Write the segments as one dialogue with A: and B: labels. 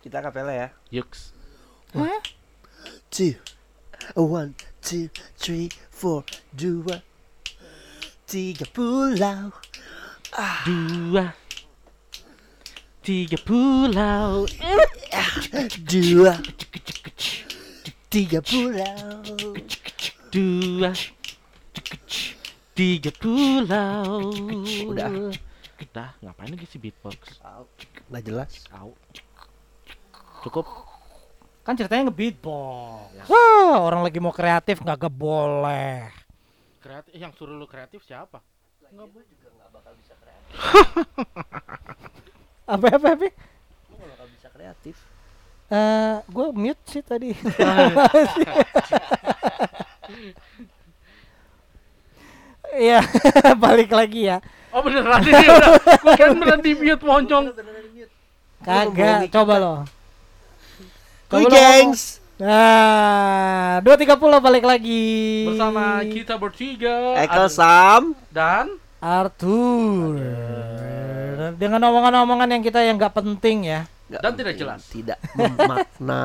A: Kita kapela ya.
B: Yuks.
C: two, one, two, three, four, dua, tiga pulau.
B: Dua. Tiga pulau.
C: Dua, tiga pulau.
B: Dua. Tiga pulau.
C: Udah.
B: Udah, ngapain lagi sih beatbox?
C: Nggak jelas.
B: Au. Cukup.
D: Kan ceritanya ngebeatbox. Wah, orang lagi mau kreatif nggak boleh.
B: Kreatif yang suruh lu kreatif siapa? Enggak boleh.
D: Apa apa apa?
C: Nggak bisa kreatif.
D: Eh, gue mute sih tadi. Iya, balik lagi ya.
B: Oh beneran ini udah. Gua kira beneran di mute moncong.
D: Kagak, coba lo.
C: Kuy
D: Coba lo ngomong.
C: gengs.
D: Nah, dua tiga puluh balik lagi.
B: Bersama kita bertiga.
C: Ekel
B: Ad-
C: Eh, Sam.
B: dan
D: Arthur. Dengan omongan-omongan yang kita yang nggak penting ya.
C: Nggak
B: Dan tidak
C: penting,
B: jelas.
C: Tidak bermakna.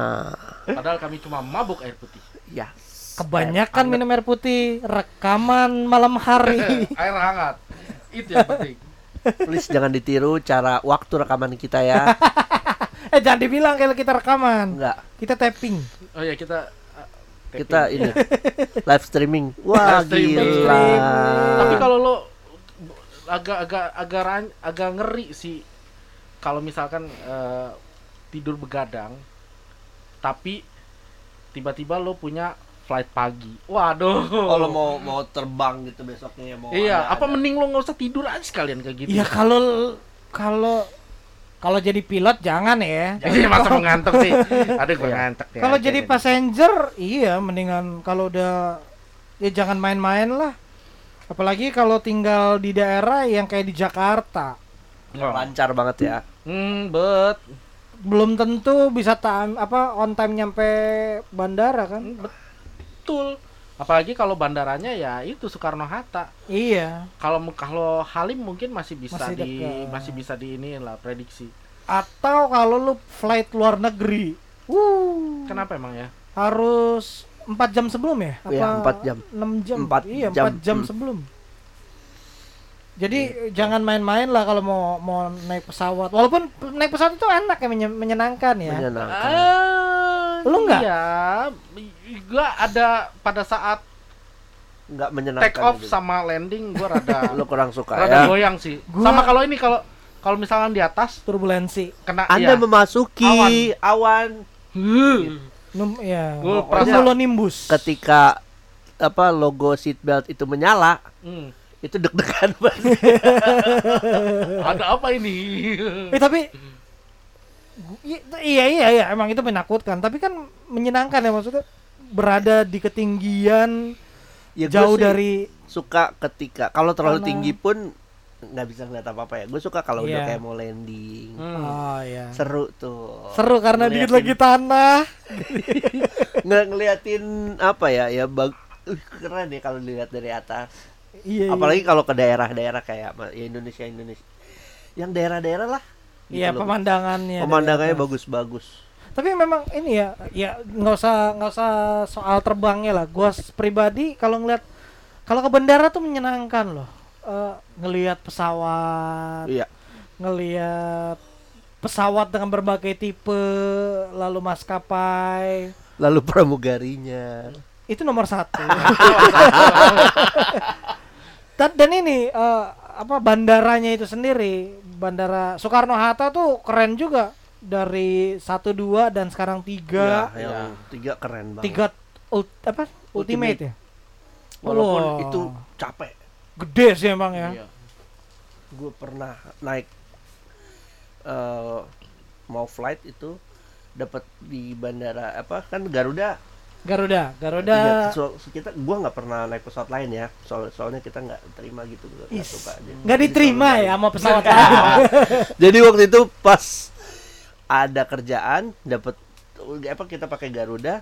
B: padahal kami cuma mabuk air putih.
C: ya.
D: Kebanyakan minum air putih, rekaman malam hari.
B: Eh, air hangat. Itu yang penting.
C: Please jangan ditiru cara waktu rekaman kita ya.
D: eh jangan dibilang kalau kita rekaman.
C: Enggak.
D: Kita tapping.
B: Oh ya kita uh, taping.
C: Kita ini ah. live streaming. Wah,
B: Live streaming.
C: gila.
B: Tapi kalau lo agak agak agak ran- agak ngeri sih kalau misalkan eh, tidur begadang tapi tiba-tiba lo punya flight pagi. Waduh.
C: kalau Oh, mau mau terbang gitu besoknya mau
B: Iya,
C: ada-
B: apa
C: ada.
B: mending lo nggak usah tidur aja sekalian kayak gitu.
D: Iya kalau kalau kalau jadi pilot jangan ya.
B: Ini Iya, masa mau ngantuk sih. Aduh gue ngantuk ya.
D: Kalau jadi passenger, iya mendingan kalau udah ya jangan main-main lah. Apalagi kalau tinggal di daerah yang kayak di Jakarta,
C: lancar banget ya.
B: Oh. Hmm, bet.
D: belum tentu bisa tahan apa on time nyampe bandara kan?
B: Betul. Apalagi kalau bandaranya ya itu Soekarno Hatta.
D: Iya.
B: Kalau kalau Halim mungkin masih bisa
D: Masih
B: di
D: dekat.
B: masih bisa di ini lah prediksi.
D: Atau kalau lu flight luar negeri, uh,
B: Kenapa emang ya?
D: harus 4 jam sebelum ya?
C: Iya, empat jam.
D: 6 jam.
C: Empat
D: iya, 4
C: jam.
D: jam,
C: Hmm. Iya.
D: sebelum. Jadi eh, jangan main-main lah kalau mau mau naik pesawat. Walaupun pe- naik pesawat itu enak ya menye- menyenangkan ya.
C: Menyenangkan. Eh,
B: Ah,
D: Lu nggak?
B: Iya, gua ada pada saat
C: Enggak menyenangkan.
B: take off
C: gitu.
B: sama landing gua rada
C: lu kurang suka ya.
B: rada goyang sih.
D: Gua-
B: Sama kalau ini kalau kalau misalkan di atas
D: Turbulensi.
B: kena
C: Anda
B: iya.
C: memasuki awan.
B: Hmm.
D: Num ya.
B: Gua
C: perasa-
D: Cumulonimbus.
C: ketika apa logo seatbelt itu menyala,
B: Hmm.
C: itu deg-degan banget.
B: Ada apa ini?
D: Eh tapi Gu- i- iya iya iya emang itu menakutkan, tapi kan menyenangkan ya maksudnya berada di ketinggian
C: Ya, gua
D: jauh
C: sih
D: dari
C: suka ketika kalau terlalu
D: Karena-
C: tinggi pun nggak bisa ngeliat apa-apa ya. Gue suka kalau udah
D: Iya.
C: kayak mau landing.
B: Hmm.
D: Oh iya.
C: Seru tuh.
D: Seru karena dikit lagi
C: Ngeliatin-
D: tanah.
C: nge- ngeliatin apa ya? Ya bag Uh, keren ya kalau dilihat dari atas.
D: Iya. iya.
C: Apalagi kalau ke daerah-daerah kayak ma- ya Indonesia Indonesia. Yang daerah-daerah lah. Gitu
D: Iya
C: loh.
D: pemandangannya.
C: Pemandangannya
D: dari atas.
C: bagus-bagus.
D: Tapi memang ini ya, ya nggak usah nggak usah soal terbangnya lah. Gua s- pribadi kalau ngeliat kalau ke bandara tuh menyenangkan loh. Eh, ngelihat pesawat,
C: Iya.
D: ngelihat pesawat dengan berbagai tipe, lalu maskapai.
C: Lalu pramugarinya.
D: Itu nomor satu. Dan, dan ini eh, apa bandaranya itu sendiri, bandara Soekarno Hatta tuh keren juga dari satu dua dan sekarang tiga.
C: Ya, yang tiga keren banget.
D: tiga ult- apa ultimate, ya
C: Walaupun
D: Wah.
C: itu capek.
D: gede sih emang ya
B: Iya.
C: Gue pernah naik eh mau flight itu dapat di bandara apa kan Garuda
D: Garuda Garuda
C: Iya, so- so kita gua nggak pernah naik pesawat lain ya soal soalnya kita nggak terima gitu nggak nggak
D: Is.
C: suka aja.
D: nggak
C: Jadi
D: diterima
C: selalu
D: ya sama pesawat lain
C: Garuda. jadi waktu itu pas ada kerjaan dapat apa kita pakai Garuda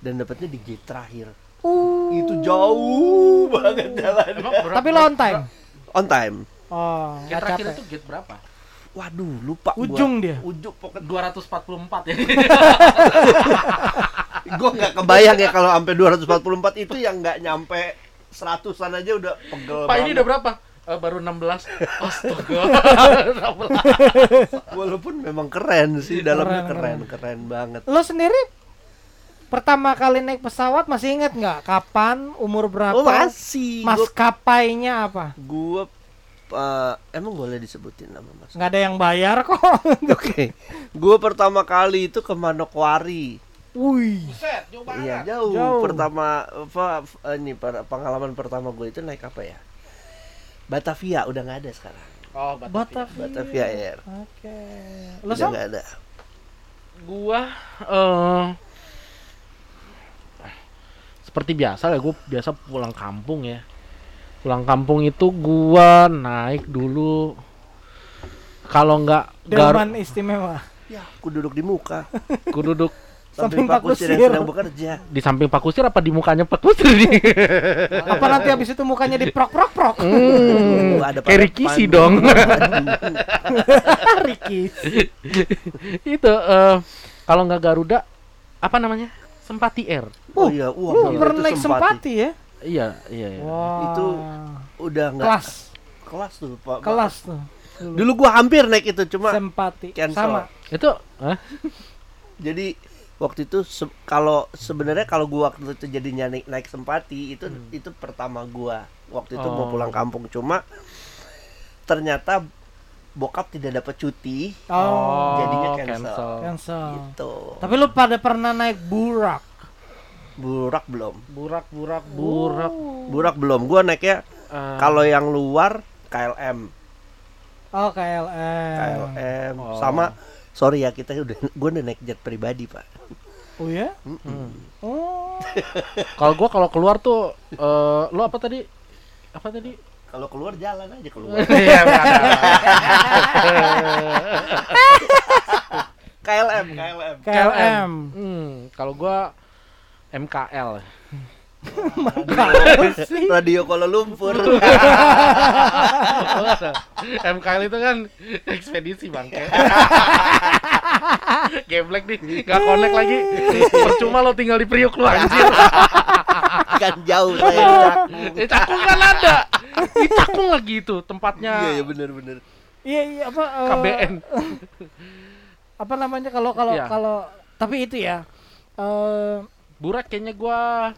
C: dan dapatnya di gate terakhir
D: Uh,
C: itu jauh banget jalan
B: Emang berapa-
D: tapi lo on time
C: on time
D: oh
B: Gate
D: nggak
B: terakhir
D: capek
B: itu gate berapa?
C: Waduh, lupa gua.
D: Ujung dia.
C: Ujung pokoknya
B: 244 ya.
C: gue nggak kebayang ya kalau sampai 244 itu yang nggak nyampe seratusan aja udah pegel
B: Pak ini udah berapa? Eh, baru 16. Astaga. 16.
C: walaupun memang keren sih dalamnya
D: Keren,
C: keren keren banget
D: Lo sendiri pertama kali naik pesawat masih ingat nggak kapan, umur berapa,
C: oh masih Gua
D: maskapainya apa?
C: gue eh, emang boleh disebutin nama mas
D: Nggak ada yang bayar kok.
C: oke gue pertama kali itu ke Manokwari
D: Wih,
B: Buset, jauh
C: Iya
B: banget.
C: jauh.
D: Jauh.
C: Pertama apa f- ini per- pengalaman pertama gue itu naik apa ya? Batavia udah nggak ada
D: Iya.
C: sekarang.
B: Oh, Batavia.
D: Batavia.
C: Batavia Air.
D: Oke. Lo
C: Udah
D: Sam?
C: Iya, nggak ada.
B: Gua eh seperti biasa lah, gua biasa pulang kampung ya. Pulang kampung itu gua naik dulu kalau nggak
D: Delman istimewa.
C: Ya, aku duduk di muka.
B: gua duduk
C: Samping
D: Samping Pak
C: Pak Kusir yang
D: Kusir.
C: sedang bekerja.
B: di samping Pak Kusir apa di mukanya Pak Kusir nih?
D: Apa nanti habis itu mukanya diprok-prok-prok?
B: Hmm,
C: Ada
B: kayak
C: pada
B: Rikisi
C: pan-
B: dong.
C: Aduh.
D: Ricky.
B: itu eh kalau nggak Garuda apa namanya? Sempati Air.
C: Oh iya, wah,
D: Uh, Lu
C: gila,
D: pernah
C: itu
D: naik sempati ya?
B: Iya, iya, iya.
D: Wah.
C: Itu- Udah nggak
D: kelas,
C: kelas tuh Pak.
D: kelas tuh.
C: Dulu gua hampir naik itu cuma
D: Sempati.
C: cancel.
D: Sama.
B: Itu eh?
C: jadi waktu itu se- kalau sebenarnya kalau gua waktu itu jadinya naik, naik sempati itu itu pertama gua waktu itu mau
B: Hmm. Oh.
C: pulang kampung cuma ternyata bokap tidak dapat cuti
D: Oh,
C: jadinya cancel.
D: cancel.
C: gitu
D: Tapi lu pada pernah naik burak?
C: burak belum
B: Burak, burak, burak.
C: burak belum gua naiknya
B: Eh,
C: kalau yang luar KLM
D: Oh, KLM.
C: KLM
B: Hmm. Oh.
C: sama sorry ya kita udah gua udah naik jet pribadi pak
D: Oh ya?
B: hmm.
D: Oh.
B: Kalau gua kalau keluar tuh eh lu apa tadi? Apa tadi?
C: kalau keluar jalan aja keluar
B: Iya, nggak ada.
C: KLM KLM
D: KLM.
B: Hmm, kalau gua MKL.
C: radio Kuala Lumpur
B: MKL itu kan ekspedisi bang Geblek nih, gak connect lagi Percuma lo tinggal di Priuk lu anjir
C: kan jauh saya di Cakung.
B: Di Cakung kan ada Di Cakung lagi itu tempatnya
C: Iya ya benar-benar.
D: Iya, iya apa eh,
B: KBN
D: apa namanya kalau kalau
B: Iya.
D: kalau tapi itu ya. Eh
B: Burak kayaknya gua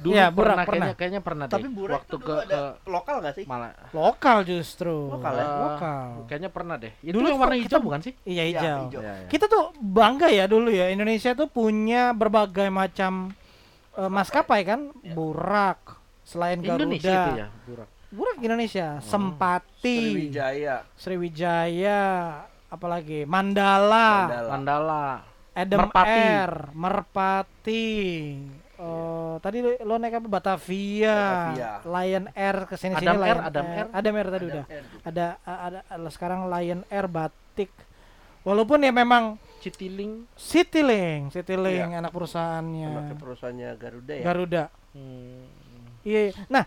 B: Dulu
D: Iya,
B: pernah,
D: Burak pernah.
B: kayaknya, kayaknya pernah deh
C: Tapi burak
B: Waktu
C: tuh
B: ke,
C: dulu ada lokal nggak sih?
B: ke Malah
D: lokal justru.
C: Lokal
B: ya?
D: Lokal.
B: Kayaknya pernah deh Itu
D: Oh. Dulu
B: yang warna
D: kita-
B: hijau bukan sih?
D: Iya,
C: Iya,
D: hijau.
C: hijau.
B: Iya, iya.
D: Kita tuh bangga ya dulu ya Indonesia tuh punya berbagai macam eh, maskapai kan, Burak, selain Garuda.
B: Indonesia itu ya Burak
D: Burak Indonesia, Sempati,
C: Sriwijaya,
D: Sriwijaya, apalagi Mandala,
C: Mandala.
B: Mandala
D: Adam
B: Merpati.
D: Air, Merpati. Eh, tadi lo, lo naik apa Batavia,
C: Batavia.
D: Lion Air ke sini
B: Adam Air,
D: Lion
B: Adam Air.
D: Adam Air tadi udah.
C: Air.
D: Ada a- ada ada sekarang Lion Air Batik. Walaupun ya memang
B: Citiling
D: Citylink, Citylink
B: Iya.
D: anak perusahaannya
C: Sama ke perusahaannya Garuda ya.
D: Garuda.
B: hmm.
D: Iya. iya. Nah,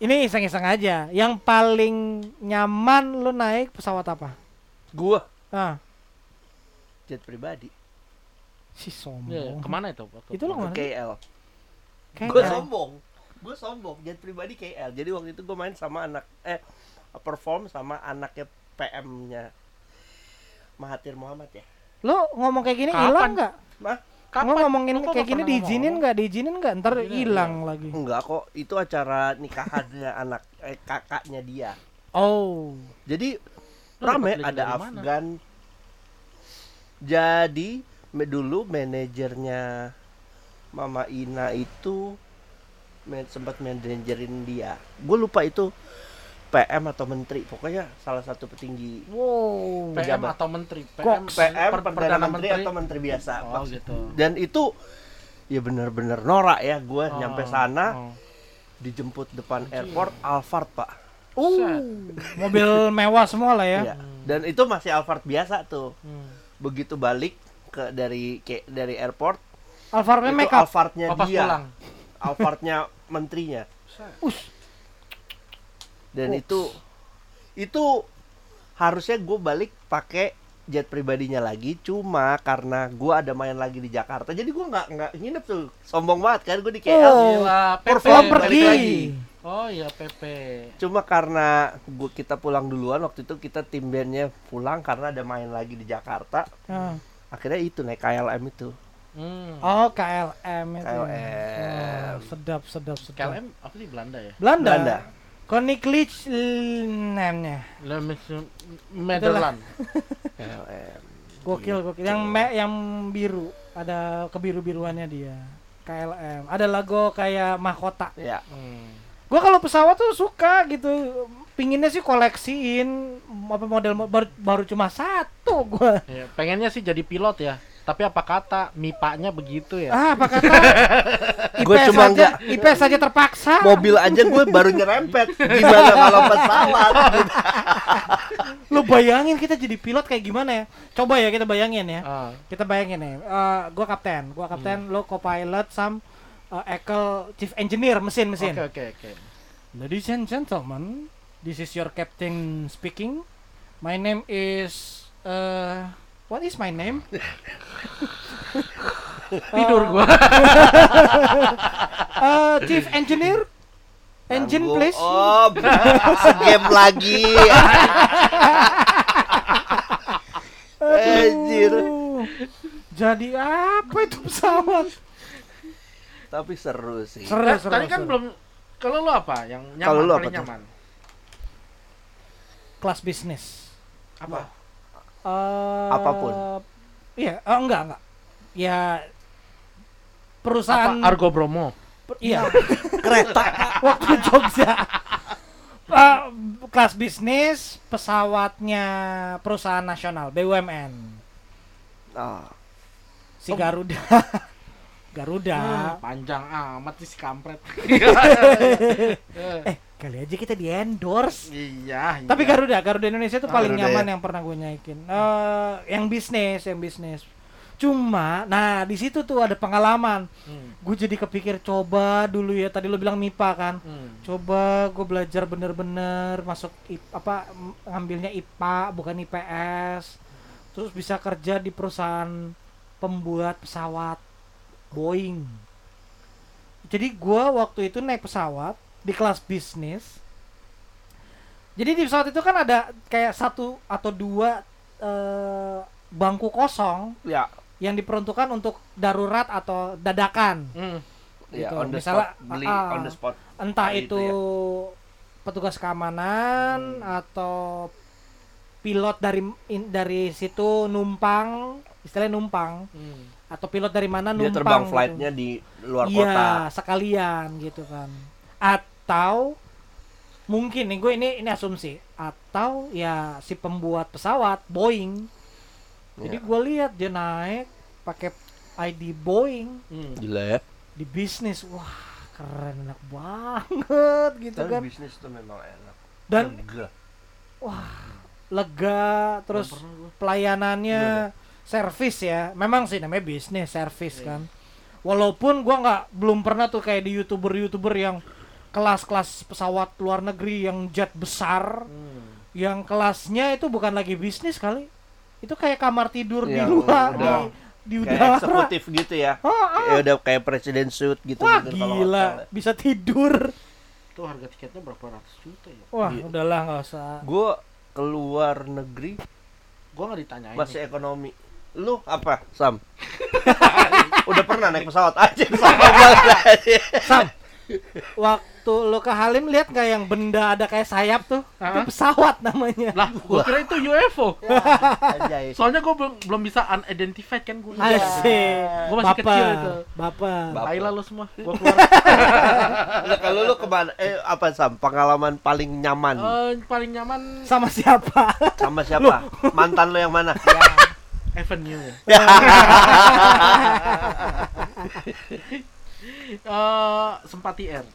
D: ini iseng-iseng aja. Yang paling nyaman lu naik pesawat apa?
C: Gua
D: Nah,
C: jet pribadi
D: si
B: Iya,
D: sombong.
B: kemana itu? Waktu
D: Oh. Itu
C: ke
D: lo kemana? sih?
C: KL.
D: Kayak
C: Gua
D: nggak-
C: sombong. Gua sombong jet pribadi KL. Jadi waktu itu gua main sama anak eh perform sama anaknya PM-nya Mahathir Muhammad ya.
D: Lo ngomong kayak gini
B: Kapan?
D: hilang nggak?
C: Mah,
D: Lo ngomongin
B: Kok
D: kayak
B: nggak
D: gini
B: pernah
D: diizinin
B: ngomong?
D: nggak? Diizinin nggak? Ntar
C: Iya,
B: Diizinin,
D: hilang lagi.
C: enggak kok. Itu acara nikahannya anak eh, kakaknya dia.
D: Oh.
C: Jadi
B: Lu
C: rame
B: dapat link dari
C: ada
B: mana?
C: Afgan. Jadi me- dulu manajernya Mama Ina itu men- sempat manajerin dia. Gue lupa itu PM atau menteri, pokoknya salah satu petinggi.
D: Wow.
B: PM
C: Pejabat.
B: atau menteri?
D: Kok
C: PM perdana menteri, atau menteri biasa.
B: Oh gitu.
C: Dan itu ya bener-bener norak ya gue
B: Oh,
C: nyampe sana
B: oh.
C: dijemput depan airport Alphard pak.
B: Oh.
D: Uh, mobil mewah semua lah ya.
C: Iya. Dan itu masih Alphard biasa tuh.
B: Hmm.
C: begitu balik ke dari ke, dari airport
D: Alphardnya
C: itu
D: make up.
C: Alphardnya
B: Oh, pas
C: Iya, dia
B: pulang.
C: Alphardnya menterinya
D: Us.
C: dan
D: Ups.
C: itu itu harusnya gue balik pakai jet pribadinya lagi cuma karena gue ada main lagi di Jakarta jadi gue nggak nggak nginep tuh sombong banget kan gue di KL
D: Oh,
B: Gila, Pepe
D: Oh,
C: balik
D: pergi.
C: lagi.
B: Oh iya Pepe.
C: cuma karena gua kita pulang duluan waktu itu kita tim bandnya pulang karena ada main lagi di Jakarta
D: Ah.
C: akhirnya itu naik KLM itu
B: Hmm.
D: Oh, KLM itu.
C: KLM.
D: Oh, sedap, sedap, sedap.
B: KLM apa sih Belanda ya?
D: Belanda.
C: Belanda
D: Koninklijke namanya.
B: Lemes- Nederland.
C: KLM
D: Gokil, gokil. Yang me, yang biru, ada kebiru-biruannya dia. KLM. Ada logo kayak mahkota.
C: ya
B: Hmm.
D: Gua kalau pesawat tuh suka gitu. Pinginnya sih koleksiin apa model mo- baru, baru cuma satu gua.
B: Ya, pengennya sih jadi pilot ya. Tapi apa kata mipanya begitu ya?
D: Ah, apa kata? IPS
C: Gua cuma
D: aja,
C: nggak-
D: IPS aja terpaksa.
C: mobil aja gue baru nyerempet gimana kalau pesawat
D: Lu bayangin kita jadi pilot kayak gimana ya? Coba ya kita bayangin ya.
B: Ah.
D: Kita bayangin nih, eh, gua kapten, gua
C: Hmm.
D: kapten, lo co-pilot, sam eh, Ekel chief engineer
B: Oke
D: mesin-mesin.
B: oke oke.
D: Oh, Ladies and gentlemen, this is your captain speaking. My name is eh, what is my name?
B: Tidur gua.
D: Eh, chief engineer. Engine
C: Tanggung.
D: please.
C: oh game lagi anjir
D: Aduh. Jadi apa itu pesawat?
C: tapi seru sih
D: Seru,
B: Eh,
D: seru,
B: tadi kan
D: seru.
B: belum kalau lu apa yang nyaman
C: Kalau lu
B: paling
C: apa tuh?
B: nyaman?
D: kelas bisnis.
B: Apa?
D: Eh,
C: Apapun.
D: Iya, oh, enggak enggak.
B: Apa
D: Ya perusahaan
B: Argo Bromo?
D: per- iya
C: kereta
D: waktu Jogja. Eh, kelas bisnis pesawatnya perusahaan nasional BUMN
C: oh,
D: si Garuda Garuda
B: Oh. Hmm, panjang amat sih si kampret. Eh,
D: eh kali aja kita di endorse
B: iya,
D: tapi kan-
B: iya.
D: Garuda Garuda Indonesia tuh paling
C: Garuda
D: nyaman
C: ya.
D: yang pernah gue naikin Eh, yang bisnis yang bisnis cuma nah di situ tuh ada pengalaman
B: Hmm,
D: gue jadi kepikir coba dulu ya tadi lo bilang MIPA kan
B: hmm.
D: coba gue belajar bener-bener masuk I- apa m- ngambilnya IPA bukan IPS terus bisa kerja di perusahaan pembuat pesawat Boeing jadi gue waktu itu naik pesawat di kelas bisnis jadi di pesawat itu kan ada kayak satu atau dua eh, bangku kosong
C: ya
D: yang diperuntukkan untuk darurat atau dadakan
B: Hmm.
C: ya
D: Gitu.
C: on the
D: Misalnya,
C: spot beli
D: ah,
C: on the spot
D: entah
C: Nah,
D: itu,
C: itu ya.
D: petugas keamanan
B: Hmm.
D: atau pilot dari in- dari situ numpang istilahnya numpang
B: hmm.
D: atau pilot dari mana
C: dia
D: numpang
C: terbang
D: gitu.
C: flightnya di luar
D: iya
C: kota
D: sekalian gitu kan atau mungkin nih gue ini ini asumsi atau ya si pembuat pesawat Boeing jadi
C: Iya.
D: gue lihat dia naik pakai ID Boeing
B: hmm.
C: gila ya
D: di bisnis wah keren enak banget gitu
C: tapi
D: kan
C: bisnis tuh memang enak
D: dan
C: Lega.
D: lega terus
B: Belum pernah gua.
D: pelayanannya servis ya memang sih namanya bisnis servis
B: Iya.
D: kan walaupun gua nggak belum pernah tuh kayak di youtuber youtuber yang kelas-kelas pesawat luar negeri yang jet besar
B: Hmm.
D: yang kelasnya itu bukan lagi bisnis kali itu kayak kamar tidur di
C: Iya,
D: luar di,
C: udah.
D: di
C: kayak
D: udara
C: eksekutif gitu ya
D: Ah, ah.
C: ya udah kayak presiden suit gitu
D: wah
C: mungkin kalau
D: gila
C: hotel ya.
D: bisa tidur
B: Tuh harga tiketnya berapa ratus juta ya?
D: wah
C: Iya.
D: udahlah nggak usah
C: gue keluar negeri
B: Gua nggak ditanyain.
C: masih
B: nih.
C: ekonomi lu apa sam udah pernah naik pesawat aja sama banget
D: Sam, waktu lo ke Halim lihat nggak yang benda ada kayak sayap tuh? Itu
B: Hah?
D: pesawat namanya.
B: Lah, gua kira itu UFO.
C: Anjay.
B: Soalnya gua belum belum bisa unidentified kan gua.
D: Iya. Asik.
B: Gua masih kecil itu.
D: Bapak.
C: Bapak.
B: Baiklah lu semua. Gua keluar.
C: Nah, kalau lu kemana eh apa sam pengalaman paling nyaman
B: Eh, paling nyaman
D: Sama siapa?
C: sama siapa mantan lu yang mana
B: ya Avenue ya. Eh, Sempati Air.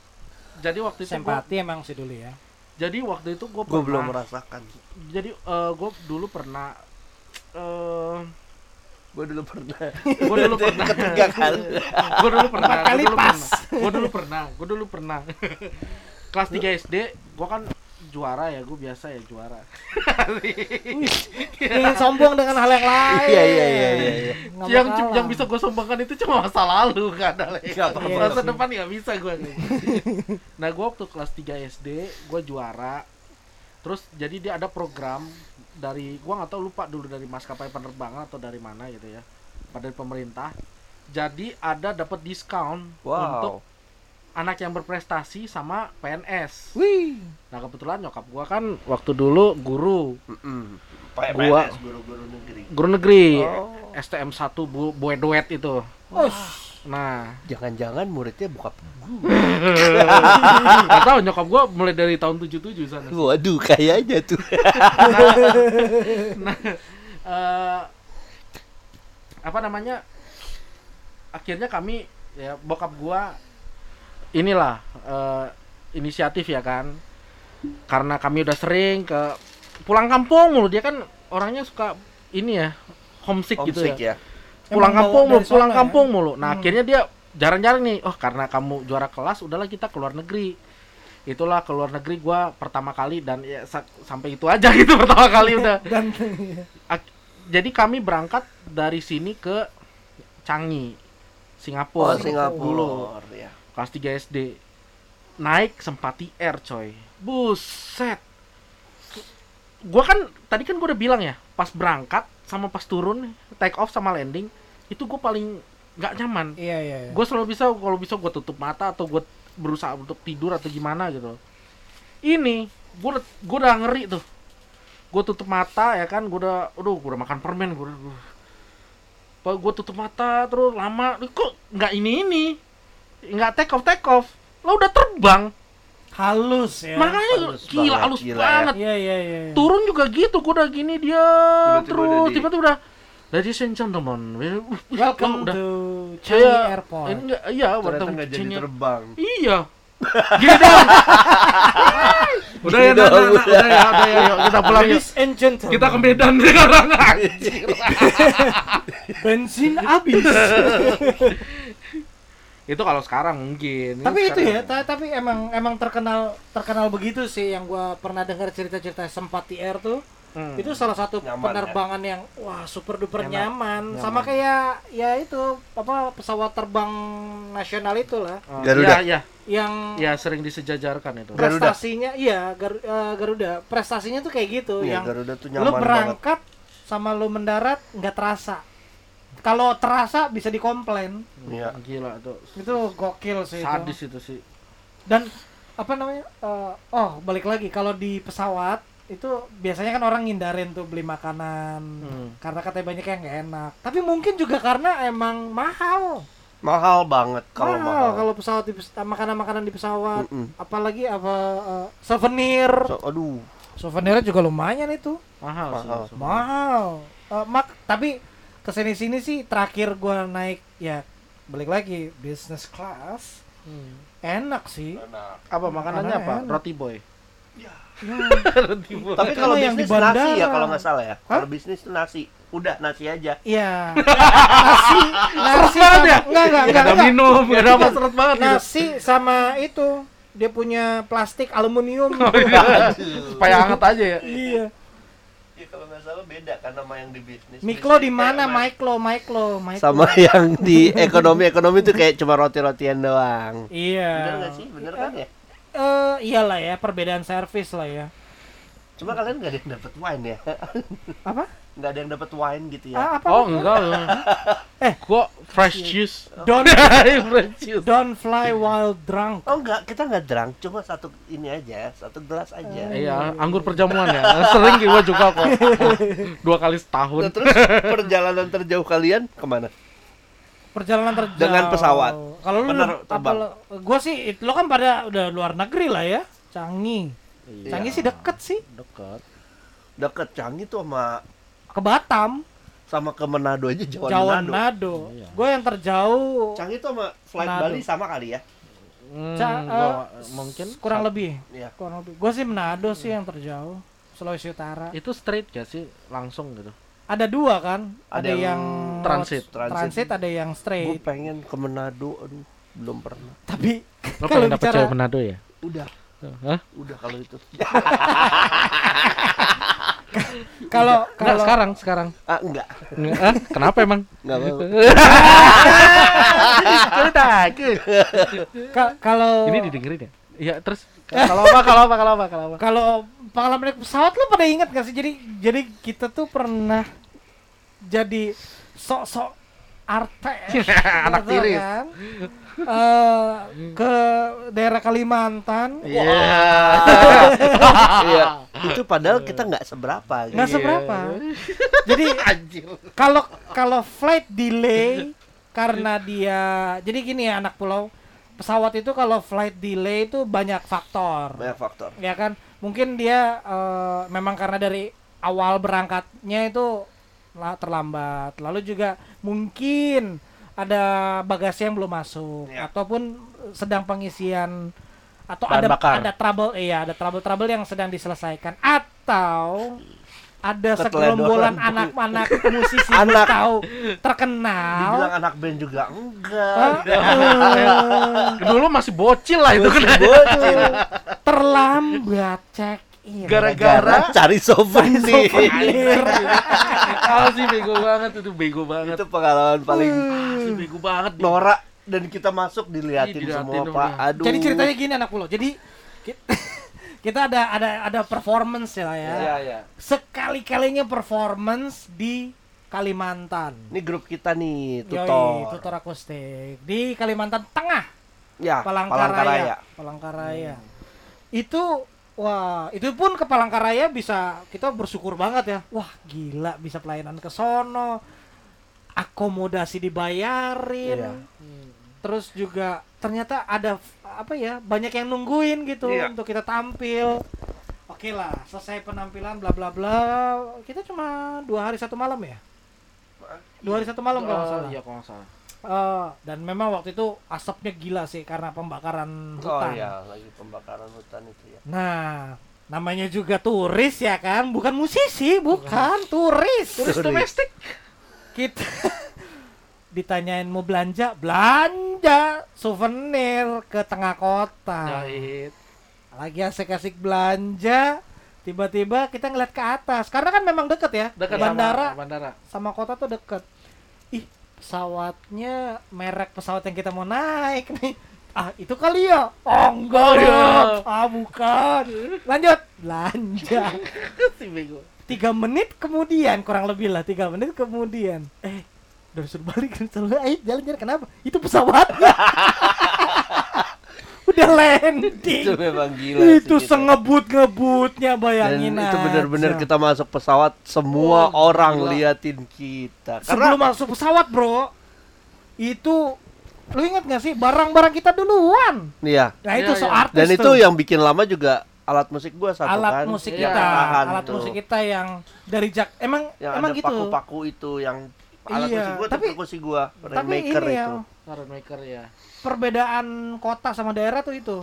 B: Jadi waktu itu gua,
D: Sempati emang sih dulu ya.
B: jadi waktu itu gua
C: gue
B: pernah
C: belum merasakan
B: jadi eh, gua dulu pernah eh
C: gue dulu pernah
B: gua dulu pernah
C: ketiga kali
B: gue dulu pernah
D: Empat kali
B: gue dulu
D: pas.
B: pernah gue dulu pernah gue dulu pernah kelas 3 SD gue kan juara ya gue biasa ya juara
D: Wih, ingin sombong dengan hal yang lain.
C: Iya, iya, iya, iya, iya.
D: Nggak mau
B: yang
D: kalah.
B: yang bisa gue sombongkan itu cuma masa lalu kan Ale.
C: Nggak apa-apa.
B: masa depan nggak bisa gue nih nah gue waktu kelas 3 SD gue juara terus jadi dia ada program dari gue nggak tahu lupa dulu dari maskapai penerbangan atau dari mana gitu ya pada pemerintah jadi ada dapat diskon untuk
C: Wow.
B: anak yang berprestasi sama PNS
D: Wih,
B: nah kebetulan nyokap gue kan waktu dulu guru
C: Mm-mm. Pak
B: Gua-
C: PNS, guru-guru negeri.
B: guru negeri
C: Oh.
B: STM 1 bu, bue duet itu
D: us,
B: nah
C: Jangan-jangan muridnya buka
B: Gak tau nyokap gue mulai dari tahun 77 sana
C: Waduh, kayaknya tuh.
B: Nah eh, Apa namanya Akhirnya kami ya Bokap gue Inilah eh, Inisiatif ya kan Karena kami udah sering ke Pulang kampung mulu Dia kan orangnya suka Ini ya Homesick, gitu ya
C: Homesick ya.
B: pulang
D: Emang
B: kampung
D: bawa
B: mulu,
D: dari
B: pulang
D: sana ya?
B: kampung mulu. Nah,
D: Hmm.
B: akhirnya dia jarang-jarang nih, oh karena kamu juara kelas, udahlah kita keluar negeri. Itulah keluar negeri gua pertama kali dan ya sa- sampai itu aja gitu pertama kali udah.
D: dan iya.
B: Ak- Jadi kami berangkat dari sini ke
C: Oh,
B: Changi, Singapura.
C: Singapura.
B: Dulu
C: ya.
B: kelas 3 SD. Naik Sempati Air, coy. Buset. Gua kan tadi kan gua udah bilang ya, pas berangkat sama pas turun, take off sama landing, itu gue paling nggak nyaman.
D: iya iya. iya.
B: Gue selalu bisa kalau bisa gue tutup mata atau gue berusaha untuk tidur atau gimana gitu. Ini gue gue udah ngeri tuh. Gue tutup mata ya kan, gue udah, aduh gue udah makan permen gue. Gue tutup mata terus lama, kok nggak ini ini, nggak take off take off, lo udah terbang.
D: halus ya.
B: Makanya
C: halus
B: gila
C: banget,
B: halus
C: gila ya.
B: banget.
D: Iya iya iya. iya.
B: Turun juga gitu, gue udah gini dia
C: Tiba-tiba udah
B: terus
C: di-
B: tiba-tiba udah. Ladies and gentlemen, we-
D: Welcome
B: udah.
D: to Changi
B: Saya-
D: Airport.
B: Ini nggak- Iya,
C: Ternyata
B: welcome
C: nggak
B: to
C: jadi
B: Changi.
C: terbang.
B: Iya. Gini dong. udah ya,
C: Gini
B: nah,
C: dong.
B: nah, nah, udah ya, udah ya, yuk kita pulang yuk.
D: Ladies and gentlemen,
B: Kita ke Medan sekarang anjir.
D: bensin habis.
B: itu kalau sekarang mungkin.
D: tapi itu ya,
B: Sekarang-
D: ta- tapi emang emang terkenal terkenal begitu sih yang gua pernah dengar cerita-cerita sempat di air tuh.
B: Hmm.
D: Itu salah satu
C: Nyaman,
D: penerbangan yang wah super duper
B: Enak. Nyaman.
D: nyaman. Sama kayak ya itu apa pesawat terbang nasional itulah
B: Oh,
C: Garuda.
B: Iya,
D: yang
B: iya, ya sering disejajarkan itu.
C: Garuda.
D: prestasinya iya Gar- eh, Garuda prestasinya tuh kayak gitu
C: Iya,
D: yang
C: Garuda tuh
D: lu
C: nyaman banget.
D: berangkat sama lu mendarat nggak terasa kalau terasa bisa dikomplain
C: Iya.
B: Gila tuh.
D: itu gokil sih itu.
B: Sadis itu sih.
D: dan apa namanya eh, oh balik lagi kalau di pesawat itu biasanya kan orang ngindarin tuh beli makanan
B: Hmm.
D: karena katanya banyak yang nggak enak tapi mungkin juga karena emang mahal
C: Mahal banget kalau mahal.
D: mahal, kalau pesawat di pes- makanan-makanan di pesawat
B: Hmm.
C: Mm-mm.
D: apalagi apa eh, souvenir
C: So- aduh,
D: souvenirnya juga lumayan itu
B: Mahal,
C: Mahal.
B: sih.
D: mahal Eh, mak tapi kesini sini sih terakhir gua naik ya balik lagi business class
B: Hmm.
D: enak sih
B: Apa makanannya apa?
D: Enak.
B: Roti boy.
D: Ya,
B: Roti boy.
C: Tapi kalau
D: yang di
C: bisnis nasi ya
D: bandara.
C: kalau nggak salah ya.
D: Hah?
C: Kalau bisnis tuh nasi. Udah nasi aja.
D: iya nasi nasi
B: Serem
D: sama,
B: banget ya?
D: enggak
B: Gak
D: enggak enggak,
B: ada
D: enggak. Nah,
B: minum, gak ada apa seret banget gitu.
D: nasi sama itu dia punya plastik aluminium
B: Oh. gitu. Supaya hangat aja ya.
D: iya
C: Ya, kalau nggak salah beda kan sama yang di bisnis.
D: mikro
C: Bisnis
D: di mana
C: kayak
D: mikro mikro mikro
C: sama yang di ekonomi-ekonomi tuh kayak cuma roti-rotian doang. Bener
D: iya
C: nggak sih? Bener kan ya?
D: eh iyalah ya perbedaan servis lah ya
C: Cuma kalian nggak ada yang dapat wine ya?
D: apa
C: Nggak ada yang dapat wine gitu ya?
D: Ah, apa
B: Oh enggak.
D: Eh. Iya.
B: eh, gua fresh juice.
D: Don't-
B: fresh juice.
D: don't fly while drunk
C: Oh nggak, kita nggak drunk, cuma satu ini aja, satu gelas
D: Ah,
C: aja.
B: Iya, anggur perjamuan ya. Sering gua juga kok. Dua kali
C: Nah,
B: setahun.
C: terus perjalanan terjauh kalian kemana?
D: perjalanan terjauh
C: Dengan pesawat.
D: kalau lu
C: Bener,
D: apa
C: terbang.
D: lu- gua sih it- lo kan pada udah luar negeri lah ya Canggih
C: Iya.
D: Canggih sih deket sih
B: Dekat.
C: Deket Canggih tuh sama
D: ke Batam
C: sama ke Manado aja Jawa,
D: Jawa
C: Manado.
D: Nado
B: Iya.
D: gue yang terjauh
C: Canggih tuh sama flight
D: Manado.
C: Bali sama kali ya?
B: Hmm,
D: Ca-
B: gua-
D: eh,
B: mungkin
D: kurang
B: sat-
D: lebih
C: Iya.
D: kurang lebih gue sih Manado sih yang terjauh Sulawesi Utara
B: itu straight gak sih langsung gitu.
D: ada dua kan
C: Ada
D: ada,
C: yang
D: yang,
B: transit.
D: transit. ada yang
C: Gue
D: straight
C: pengen ke Manado, aduh belum pernah.
D: tapi
B: Lo
D: Kalau
B: pengen dapet
D: bicara-
B: cewek Manado ya?
C: Udah.
B: Hah?
C: Udah kalau itu.
D: Kalau
B: Nggak,
D: kalau
B: sekarang sekarang.
C: Ah, enggak.
B: Nggak, ah, kenapa emang?
C: Enggak mau.
D: ka- kalau
B: Ini didengerin ya? Iya, terus kalau apa kalau apa kalau apa kalau apa?
D: Kalau pengalaman naik pesawat lo pada inget gak sih? Jadi jadi kita tuh pernah jadi sok-sok artis
B: Anak
D: gitu
B: tiris.
D: kan? Eh, ke daerah Kalimantan
C: Iya. Iya. Itu padahal kita nggak seberapa.
D: nggak
C: Gitu.
D: seberapa. Iya. Jadi kalau kalau flight delay karena dia jadi gini ya anak pulau pesawat itu kalau flight delay itu banyak faktor.
C: Banyak faktor.
D: ya kan mungkin dia eh, memang karena dari awal berangkatnya itu la- terlambat lalu juga mungkin ada bagasi yang belum masuk
C: Ya.
D: ataupun sedang pengisian atau
B: Bahan
D: ada
B: bakar.
D: ada trouble iya ada trouble-trouble yang sedang diselesaikan atau ada
C: Keteledoran.
D: segerombolan anak-anak musisi
C: Anak.
D: tahu terkenal
C: Dibilang anak band juga enggak.
D: eh, eh,
B: Dulu masih bocil lah itu kan.
C: Bocil.
D: terlambat Iya. check in
B: Gara-gara
C: cari souvenir.
B: Kalau sih bego banget itu bego banget.
C: itu pengalaman paling
B: Asli bego banget. Bang.
C: norak dan kita masuk diliatin
B: Iya,
C: semua
B: diliatin,
C: Pak.
B: udah.
C: Aduh.
D: Jadi ceritanya gini anak pulau. Jadi ki- kita ada ada ada performance ya lah ya.
C: Iya, iya.
D: Sekali-kalinya performance di Kalimantan.
C: Ini grup kita nih,
D: Yoi,
C: tutor.
D: tutor akustik di Kalimantan Tengah,
C: Ya,
D: Palangkaraya. Palangkaraya. Itu wah, itu pun ke Palangkaraya bisa kita bersyukur banget ya. Wah, gila bisa pelayanan ke sono. Akomodasi dibayarin.
C: Iya.
D: terus juga ternyata ada f- apa ya banyak yang nungguin gitu
C: Iya.
D: untuk kita tampil oke lah selesai penampilan bla bla bla kita cuma dua hari satu malam ya dua hari satu malam kalau
C: Oh,
D: nggak
B: Eh,
D: salah
B: Iya kalau nggak salah.
D: Eh, dan memang waktu itu asapnya gila sih karena pembakaran
C: Oh
D: hutan
C: iya, lagi pembakaran hutan itu ya.
D: nah namanya juga turis ya kan bukan musisi bukan turis
B: Turis
C: Sorry.
B: domestik.
D: kita ditanyain mau belanja belanja souvenir ke tengah kota
B: Jahit.
D: lagi asik-asik belanja tiba-tiba kita ngeliat ke atas karena kan memang deket ya
B: Dekat sama
D: bandara
B: bandara.
D: sama, kota tuh deket ih pesawatnya merek pesawat yang kita mau naik nih ah itu kali ya oh enggak ya ah bukan lanjut belanja
B: Si bego.
D: tiga menit kemudian kurang lebih lah tiga menit kemudian eh udah suruh balik selalu ayo jalan jalan kenapa itu pesawatnya udah landing
C: Itu memang gila sih
D: itu
C: kita.
D: sengebut ngebutnya
C: Dan
D: bayangin
C: itu benar-benar
D: aja.
C: kita masuk pesawat semua
B: Oh,
C: orang
B: gila.
C: liatin kita. Karena
D: sebelum masuk pesawat bro itu lu inget gak sih barang-barang kita duluan
C: iya.
D: nah
B: Iya,
D: itu
B: iya.
D: so artis
C: Dan itu
D: tuh.
C: yang bikin lama juga alat musik gua satu
D: alat
C: kan.
D: musik
B: Iya,
D: kita
C: tahan
D: alat
C: tuh.
D: musik kita yang dari jak emang
C: Yang
D: emang
C: ada
D: gitu
C: paku-paku itu yang alat
D: Iya,
C: musik gua
D: tapi-
C: tapi kursi gua
D: tapi
C: Rainmaker
D: ini
C: itu.
D: ya
B: Saran maker ya.
D: perbedaan kota sama daerah tuh itu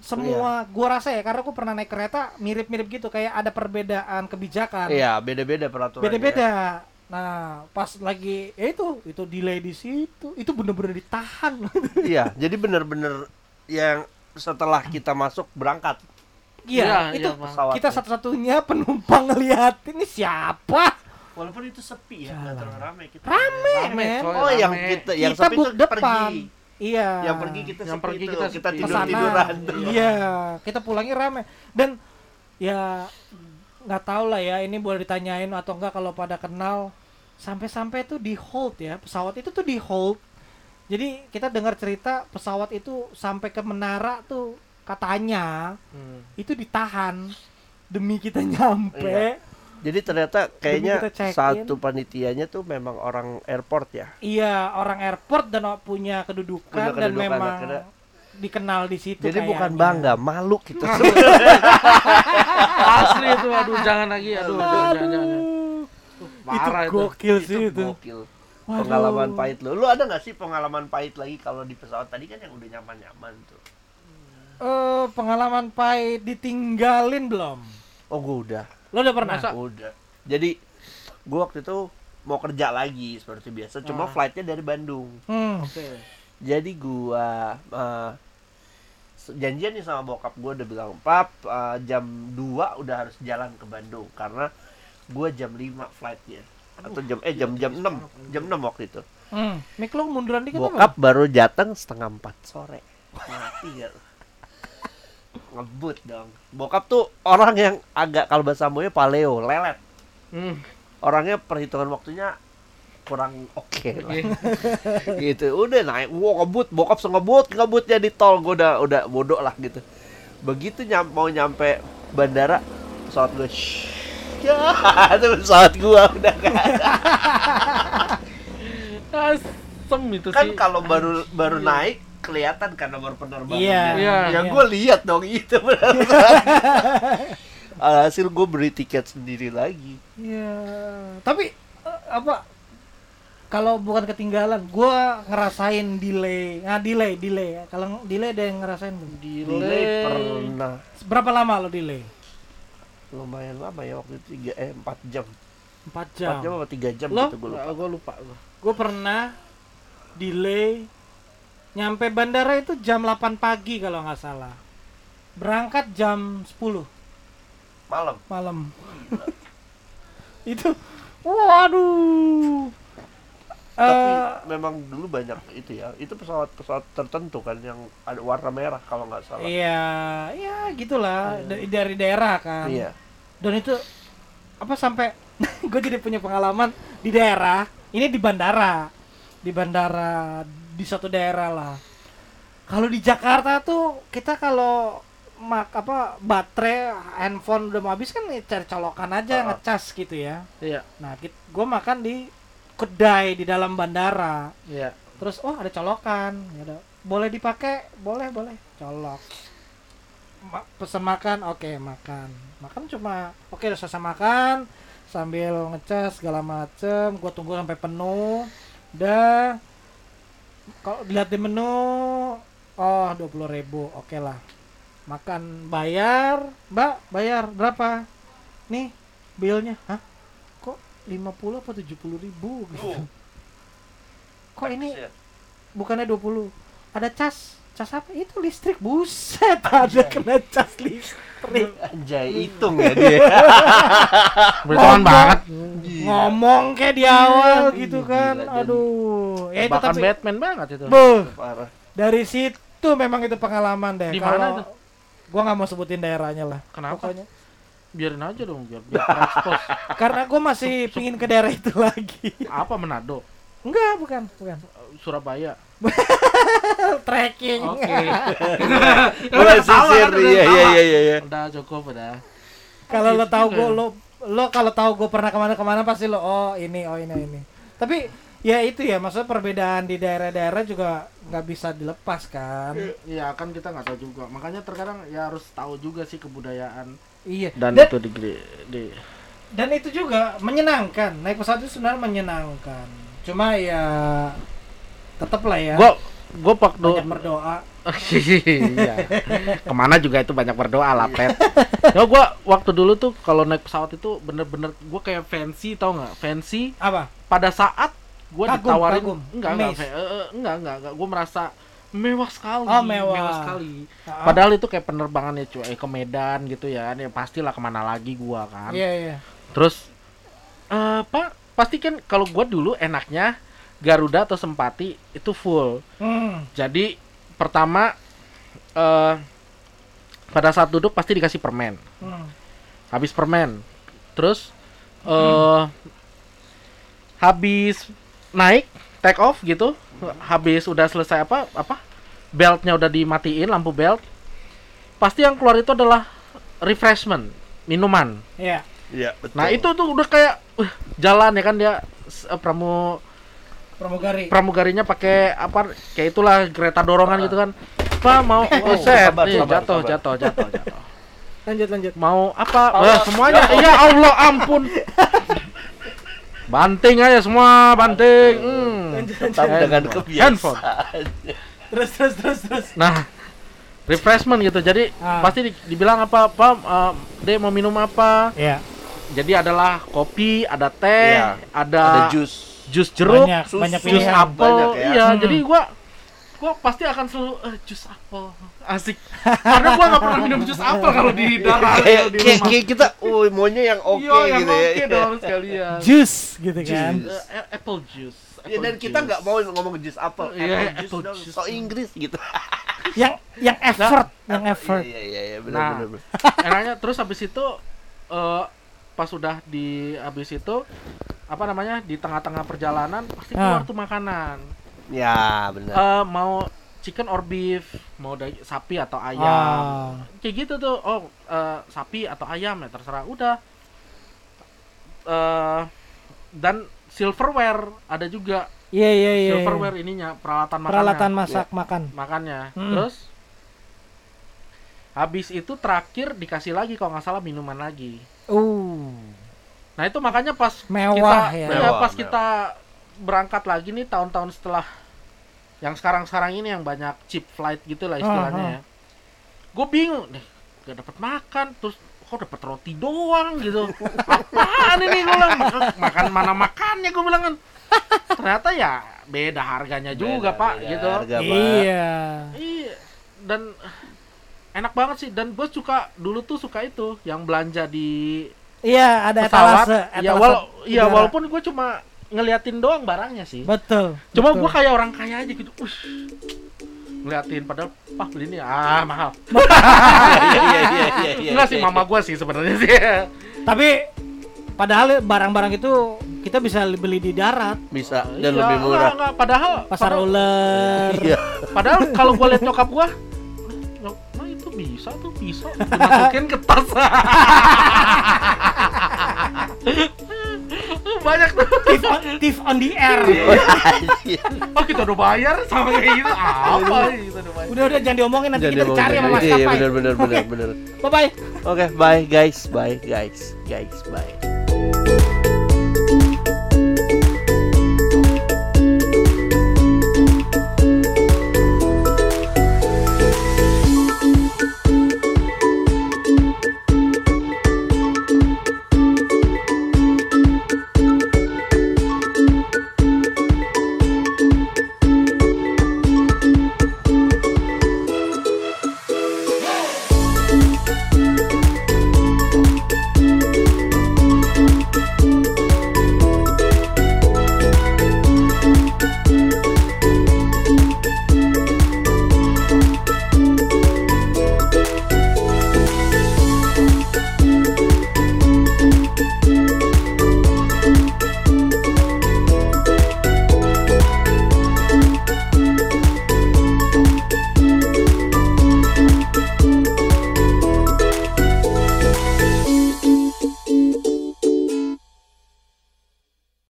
D: semua
C: Iya.
D: gua rasa ya karena aku pernah naik kereta mirip-mirip gitu kayak ada perbedaan kebijakan
C: Iya, ya. beda-beda peraturannya.
D: beda-beda nah pas lagi ya itu itu delay di situ itu bener-bener ditahan
C: Iya, jadi benar-benar yang setelah kita masuk berangkat
D: iya itu
B: Bang.
C: pesawat.
D: kita satu-satunya penumpang ngeliat ini siapa
C: walaupun itu sepi ya,
D: Jalan.
C: nggak terlalu ramai kita.
D: rame
B: Rame,
D: men.
B: coy.
C: Oh, yang
B: Rame.
C: kita yang
D: kita
C: sepi
D: book
C: itu
D: depan
C: pergi.
D: iya
C: Yang pergi kita
B: Yang
C: sepi
B: pergi
C: itu,
B: kita
C: kita,
B: sepi.
C: tidur tiduran.
D: Iya, kita pulangnya rame. Dan ya nggak tahu lah ya ini boleh ditanyain atau enggak kalau pada kenal sampai-sampai tuh di hold ya pesawat itu tuh di hold jadi kita dengar cerita pesawat itu sampai ke menara tuh katanya
B: Hmm.
D: itu ditahan demi kita
C: Iya.
D: nyampe
C: Jadi ternyata kayaknya
D: kita check-in.
C: satu panitianya tuh memang orang airport ya.
D: iya orang airport dan o- punya kedudukan,
C: Punya
D: dan
C: kedudukan,
D: memang
C: akhirnya.
D: dikenal di situ gitu.
C: Jadi bukan
D: kayaknya.
C: bangga, malu kita semua.
B: Asli itu aduh jangan lagi aduh jangan jangan. jangan.
D: Aduh,
B: Parah
D: itu
B: itu.
D: gokil sih itu.
C: Gokil.
D: Waduh.
C: Pengalaman pahit lo. Lu ada nggak sih pengalaman pahit lagi kalau di pesawat tadi kan yang udah nyaman-nyaman tuh.
D: Eh, pengalaman pahit ditinggalin belum?
C: Oh, gua udah.
D: Lo udah pernah?
B: Masa?
C: Nah, Udah. Jadi gua waktu itu mau kerja lagi seperti biasa, cuma flightnya dari Bandung.
D: Hmm.
B: Oke.
C: Jadi gua eh, se janjian nih sama bokap gue udah bilang pap eh, jam 2 udah harus jalan ke Bandung karena gue jam 5 flightnya atau jam eh jam jam 6 jam 6 waktu itu
D: Hmm, Mik lo munduran dikit
C: bokap baru datang setengah 4 sore mati gak lu? ngebut dong bokap tuh orang yang agak kalau bahasa Ambonya paleo lelet
B: Hmm.
C: orangnya perhitungan waktunya kurang oke lah gitu udah naik wow ngebut bokap sengebut ngebutnya di tol gue udah udah bodoh lah gitu begitu nyam, mau nyampe bandara pesawat gue ya itu pesawat gue udah gak ada.
B: Asem itu
C: kan
B: sih.
C: kalau baru baru naik kelihatan kan nomor penerbangan ya.
D: Iya.
B: Iya.
C: yang
D: Iya.
C: gue lihat dong itu benar alhasil gue beli tiket sendiri lagi
D: Iya. Tapi eh, apa kalau bukan ketinggalan, gua ngerasain delay. Nah, delay, delay. Kalau delay ada yang ngerasain belum?
C: delay
B: delay.
C: pernah
D: Berapa lama lo delay?
C: lumayan lama ya waktu itu 3 eh 4 jam 4
D: 4
C: jam
D: jam.
C: apa 3 jam
D: Lo?
C: gitu gue lupa
B: Gue lupa Ah, gua.
D: Gue pernah delay nyampe bandara itu jam 8 pagi kalau nggak salah. Berangkat jam 10
C: malam
D: malam. itu waduh. Eh
C: tapi memang dulu banyak itu ya itu pesawat-pesawat tertentu kan yang ada warna merah kalau nggak salah
D: Iya, ya gitulah dari, dari daerah kan.
C: iya
D: Dan itu apa sampai gue jadi punya pengalaman di daerah. Ini di bandara, di bandara di satu daerah lah. Kalau di Jakarta tuh kita kalau mak apa baterai handphone udah mau habis kan cari colokan aja
C: Ah.
D: ngecas gitu ya.
B: Iya,
D: Nah, gue makan di kedai di dalam bandara
B: iya.
D: terus oh ada colokan ya udah. boleh dipakai boleh boleh colok Ma- pesan makan oke makan makan cuma oke udah selesai makan sambil ngecas segala macem gua tunggu sampai penuh udah kalau dilihat di menu oh dua ribu oke lah makan bayar mbak bayar berapa nih billnya hah kok 50 apa 70 ribu gitu
C: Oh.
D: kok ini
C: Iya.
D: bukannya 20 ada cas cas apa itu listrik buset ada kena cas listrik
C: anjay hitung ya dia
B: Beritahuan banget.
D: ngomong kayak di awal
C: Iya,
D: gitu
C: gila,
D: kan
C: jadi-
D: aduh ya itu
B: Bahkan
D: tapi
B: Batman banget itu.
D: Beuh,
C: parah
D: dari situ memang itu pengalaman deh
B: Di mana
D: Kalau- gua nggak mau sebutin daerahnya lah
B: Kenapa?
D: pokoknya
B: Biarin aja dong, biar biar terekspos.
D: karena gua masih pingin ke daerah itu lagi
B: Apa Manado?
D: enggak bukan bukan
B: Surabaya.
D: trekking
B: Oke.
C: mulai
B: Udah ketawa
C: sisir
B: kan, udah
C: iya iya
B: ketawa.
C: iya iya
B: Udah cukup udah.
D: kalau lo
B: Gitu
D: tahu gue
B: kan.
D: lo lo kalau tahu gue pernah kemana-kemana pasti lo oh ini oh ini oh ini tapi ya itu ya maksudnya perbedaan di daerah-daerah juga nggak bisa dilepas kan
B: Iya kan kita nggak tahu juga. Makanya terkadang ya harus tahu juga sih kebudayaan.
D: iya
B: Dan,
D: dan dan,
B: itu di, di, di-
D: itu juga menyenangkan naik pesawat itu sebenarnya menyenangkan cuma ya tetap lah ya
B: Gua gua waktu
D: banyak berdoa
B: iya. Kemana juga itu banyak berdoa lah, Pet. Ya gua waktu dulu tuh kalau naik pesawat itu bener-bener gua kayak fancy tau nggak? Fancy
D: apa
B: pada saat gua
D: Kagum,
B: ditawarin
D: kagum.
B: enggak enggak,
D: Amazed.
B: fe- eh, eh, enggak enggak enggak gua merasa mewah sekali,
D: Oh, mewah.
B: sekali.
D: Ah,
B: Padahal itu kayak penerbangannya cuy ke Medan gitu ya, ya pastilah kemana lagi gua kan.
D: iya iya
B: Terus eh Pak, pasti kan kalau gua dulu enaknya Garuda atau Sempati itu full.
D: Hmm,
B: Jadi pertama eh pada saat duduk pasti dikasih permen.
D: hmm.
B: Habis permen. Terus eh habis naik take off gitu, habis udah selesai apa apa beltnya udah dimatiin lampu belt. Pasti yang keluar itu adalah refreshment, minuman.
D: Iya.
C: iya betul
B: Nah itu tuh udah kayak uh, jalan ya kan dia s- eh, pramu
D: pramugari
B: pramugarinya pakai apa kayak itulah kereta dorongan gitu kan. Pak mau oh,
C: Wow,
B: set,
C: sabar,
B: nih,
C: sabar,
B: jatuh,
C: sabar.
B: jatuh, jatuh, jatuh.
D: lanjut lanjut
B: Mau apa? Wah, semuanya. Iya Allah ampun. Banting aja semua, banting. Hmm.
D: lanjut lanjut
C: tetap dengan
B: Handphone.
C: kebiasaan
D: terus terus terus terus
B: Nah, refreshment gitu. Jadi
D: Ah.
B: pasti di- dibilang apa, Pak, eh, Dek mau minum apa?
D: ya
B: Jadi adalah kopi, ada teh,
C: Iya.
B: ada,
C: ada
B: jus,
C: jus
B: jeruk,
D: banyak
C: susu,
D: banyak
B: jus
D: pilihan
B: apel
C: Iya, Banyak ya.
B: iya
D: Hmm.
B: jadi gua gua pasti akan selalu eh, jus apel asik karena gua nggak pernah minum jus apel kalau di
C: kayak
B: darat kalau di
C: kayak-
B: rumah
C: kayak kita oh maunya yang oke
B: Iya, yang
C: gitu
B: oke
C: ya
B: dong sekalian
D: Jus gitu kan.
C: Jus.
B: Eh, apple juice
C: Ya, dan
B: apple
C: kita
B: juice.
C: nggak mau ngomong jus apel,
B: Iya,
C: apple
B: apple
C: dong,
B: juice.
C: so Inggris gitu.
D: Yang yang effort, yang effort.
C: Iya iya iya benar
B: Nah.
C: benar. benar.
B: enaknya terus habis itu eh pas sudah di habis itu apa namanya di tengah-tengah perjalanan pasti keluar
D: Ah.
B: tuh makanan
C: Ya benar.
B: Eh mau chicken or beef mau daging sapi atau ayam
D: Ah.
B: kayak gitu tuh oh eh, sapi atau ayam ya terserah udah eh dan silverware ada juga
D: Iya iya iya. iya.
B: silverware ya. ininya peralatan makannya Iya,
D: Peralatan masak makan.
B: makannya
D: Hmm.
B: terus habis itu terakhir dikasih lagi kalau nggak salah minuman lagi
D: Uh,
B: Nah itu makanya pas kita,
D: Mewah ya.
B: iya,
C: Mewah,
B: pas
C: mewah.
B: kita berangkat lagi nih tahun-tahun setelah yang sekarang-sekarang ini yang banyak cheap flight gitu lah istilahnya
D: Aha.
B: ya. Gue bingung nih, gak dapat makan terus kok dapat roti doang gitu. Apaan ini gue bilang "Mak- makan mana makannya gue bilang kan. Ternyata ya beda harganya Iya juga
C: Beda-
B: pak
C: beda
B: gitu.
C: harga, Pak.
D: iya.
B: Iya dan enak banget sih dan gue suka dulu tuh suka itu yang belanja di
D: Iya ada
B: pesawat
D: etalase.
B: ya
D: etalase
B: wala ya
D: udara.
B: walaupun gue cuma ngeliatin doang barangnya sih
D: betul.
B: cuma kan-
D: betul.
B: gue kayak orang kaya aja gitu Ush. ngeliatin padahal pah beli ini ah mahal
C: Iya iya iya iya. iya,
B: enggak sih
C: iya.
B: mama gue sih sebenarnya sih
D: Tapi padahal barang-barang itu kita bisa beli di darat,
C: bisa
B: Iya,
C: dan lebih
B: enggak,
C: murah.
B: enggak. padahal
D: pasar
B: padahal,
D: ular.
C: Iya.
B: padahal kalau gue liat nyokap gue Nah itu bisa tuh bisa dimasukin ke tas banyak tuh
D: Thief on, thief on the air.
C: Iya.
B: oh kita udah bayar sama kayak gitu apa ini kita udah bayar
D: Udah udah jangan diomongin nanti
C: Jadi
D: kita
C: mau-
D: dicari sama
C: Iya iya
B: ya?
D: maskapai.
C: benar benar benar benar.
D: Bye bye.
C: Oke, bye guys, bye guys, guys, bye.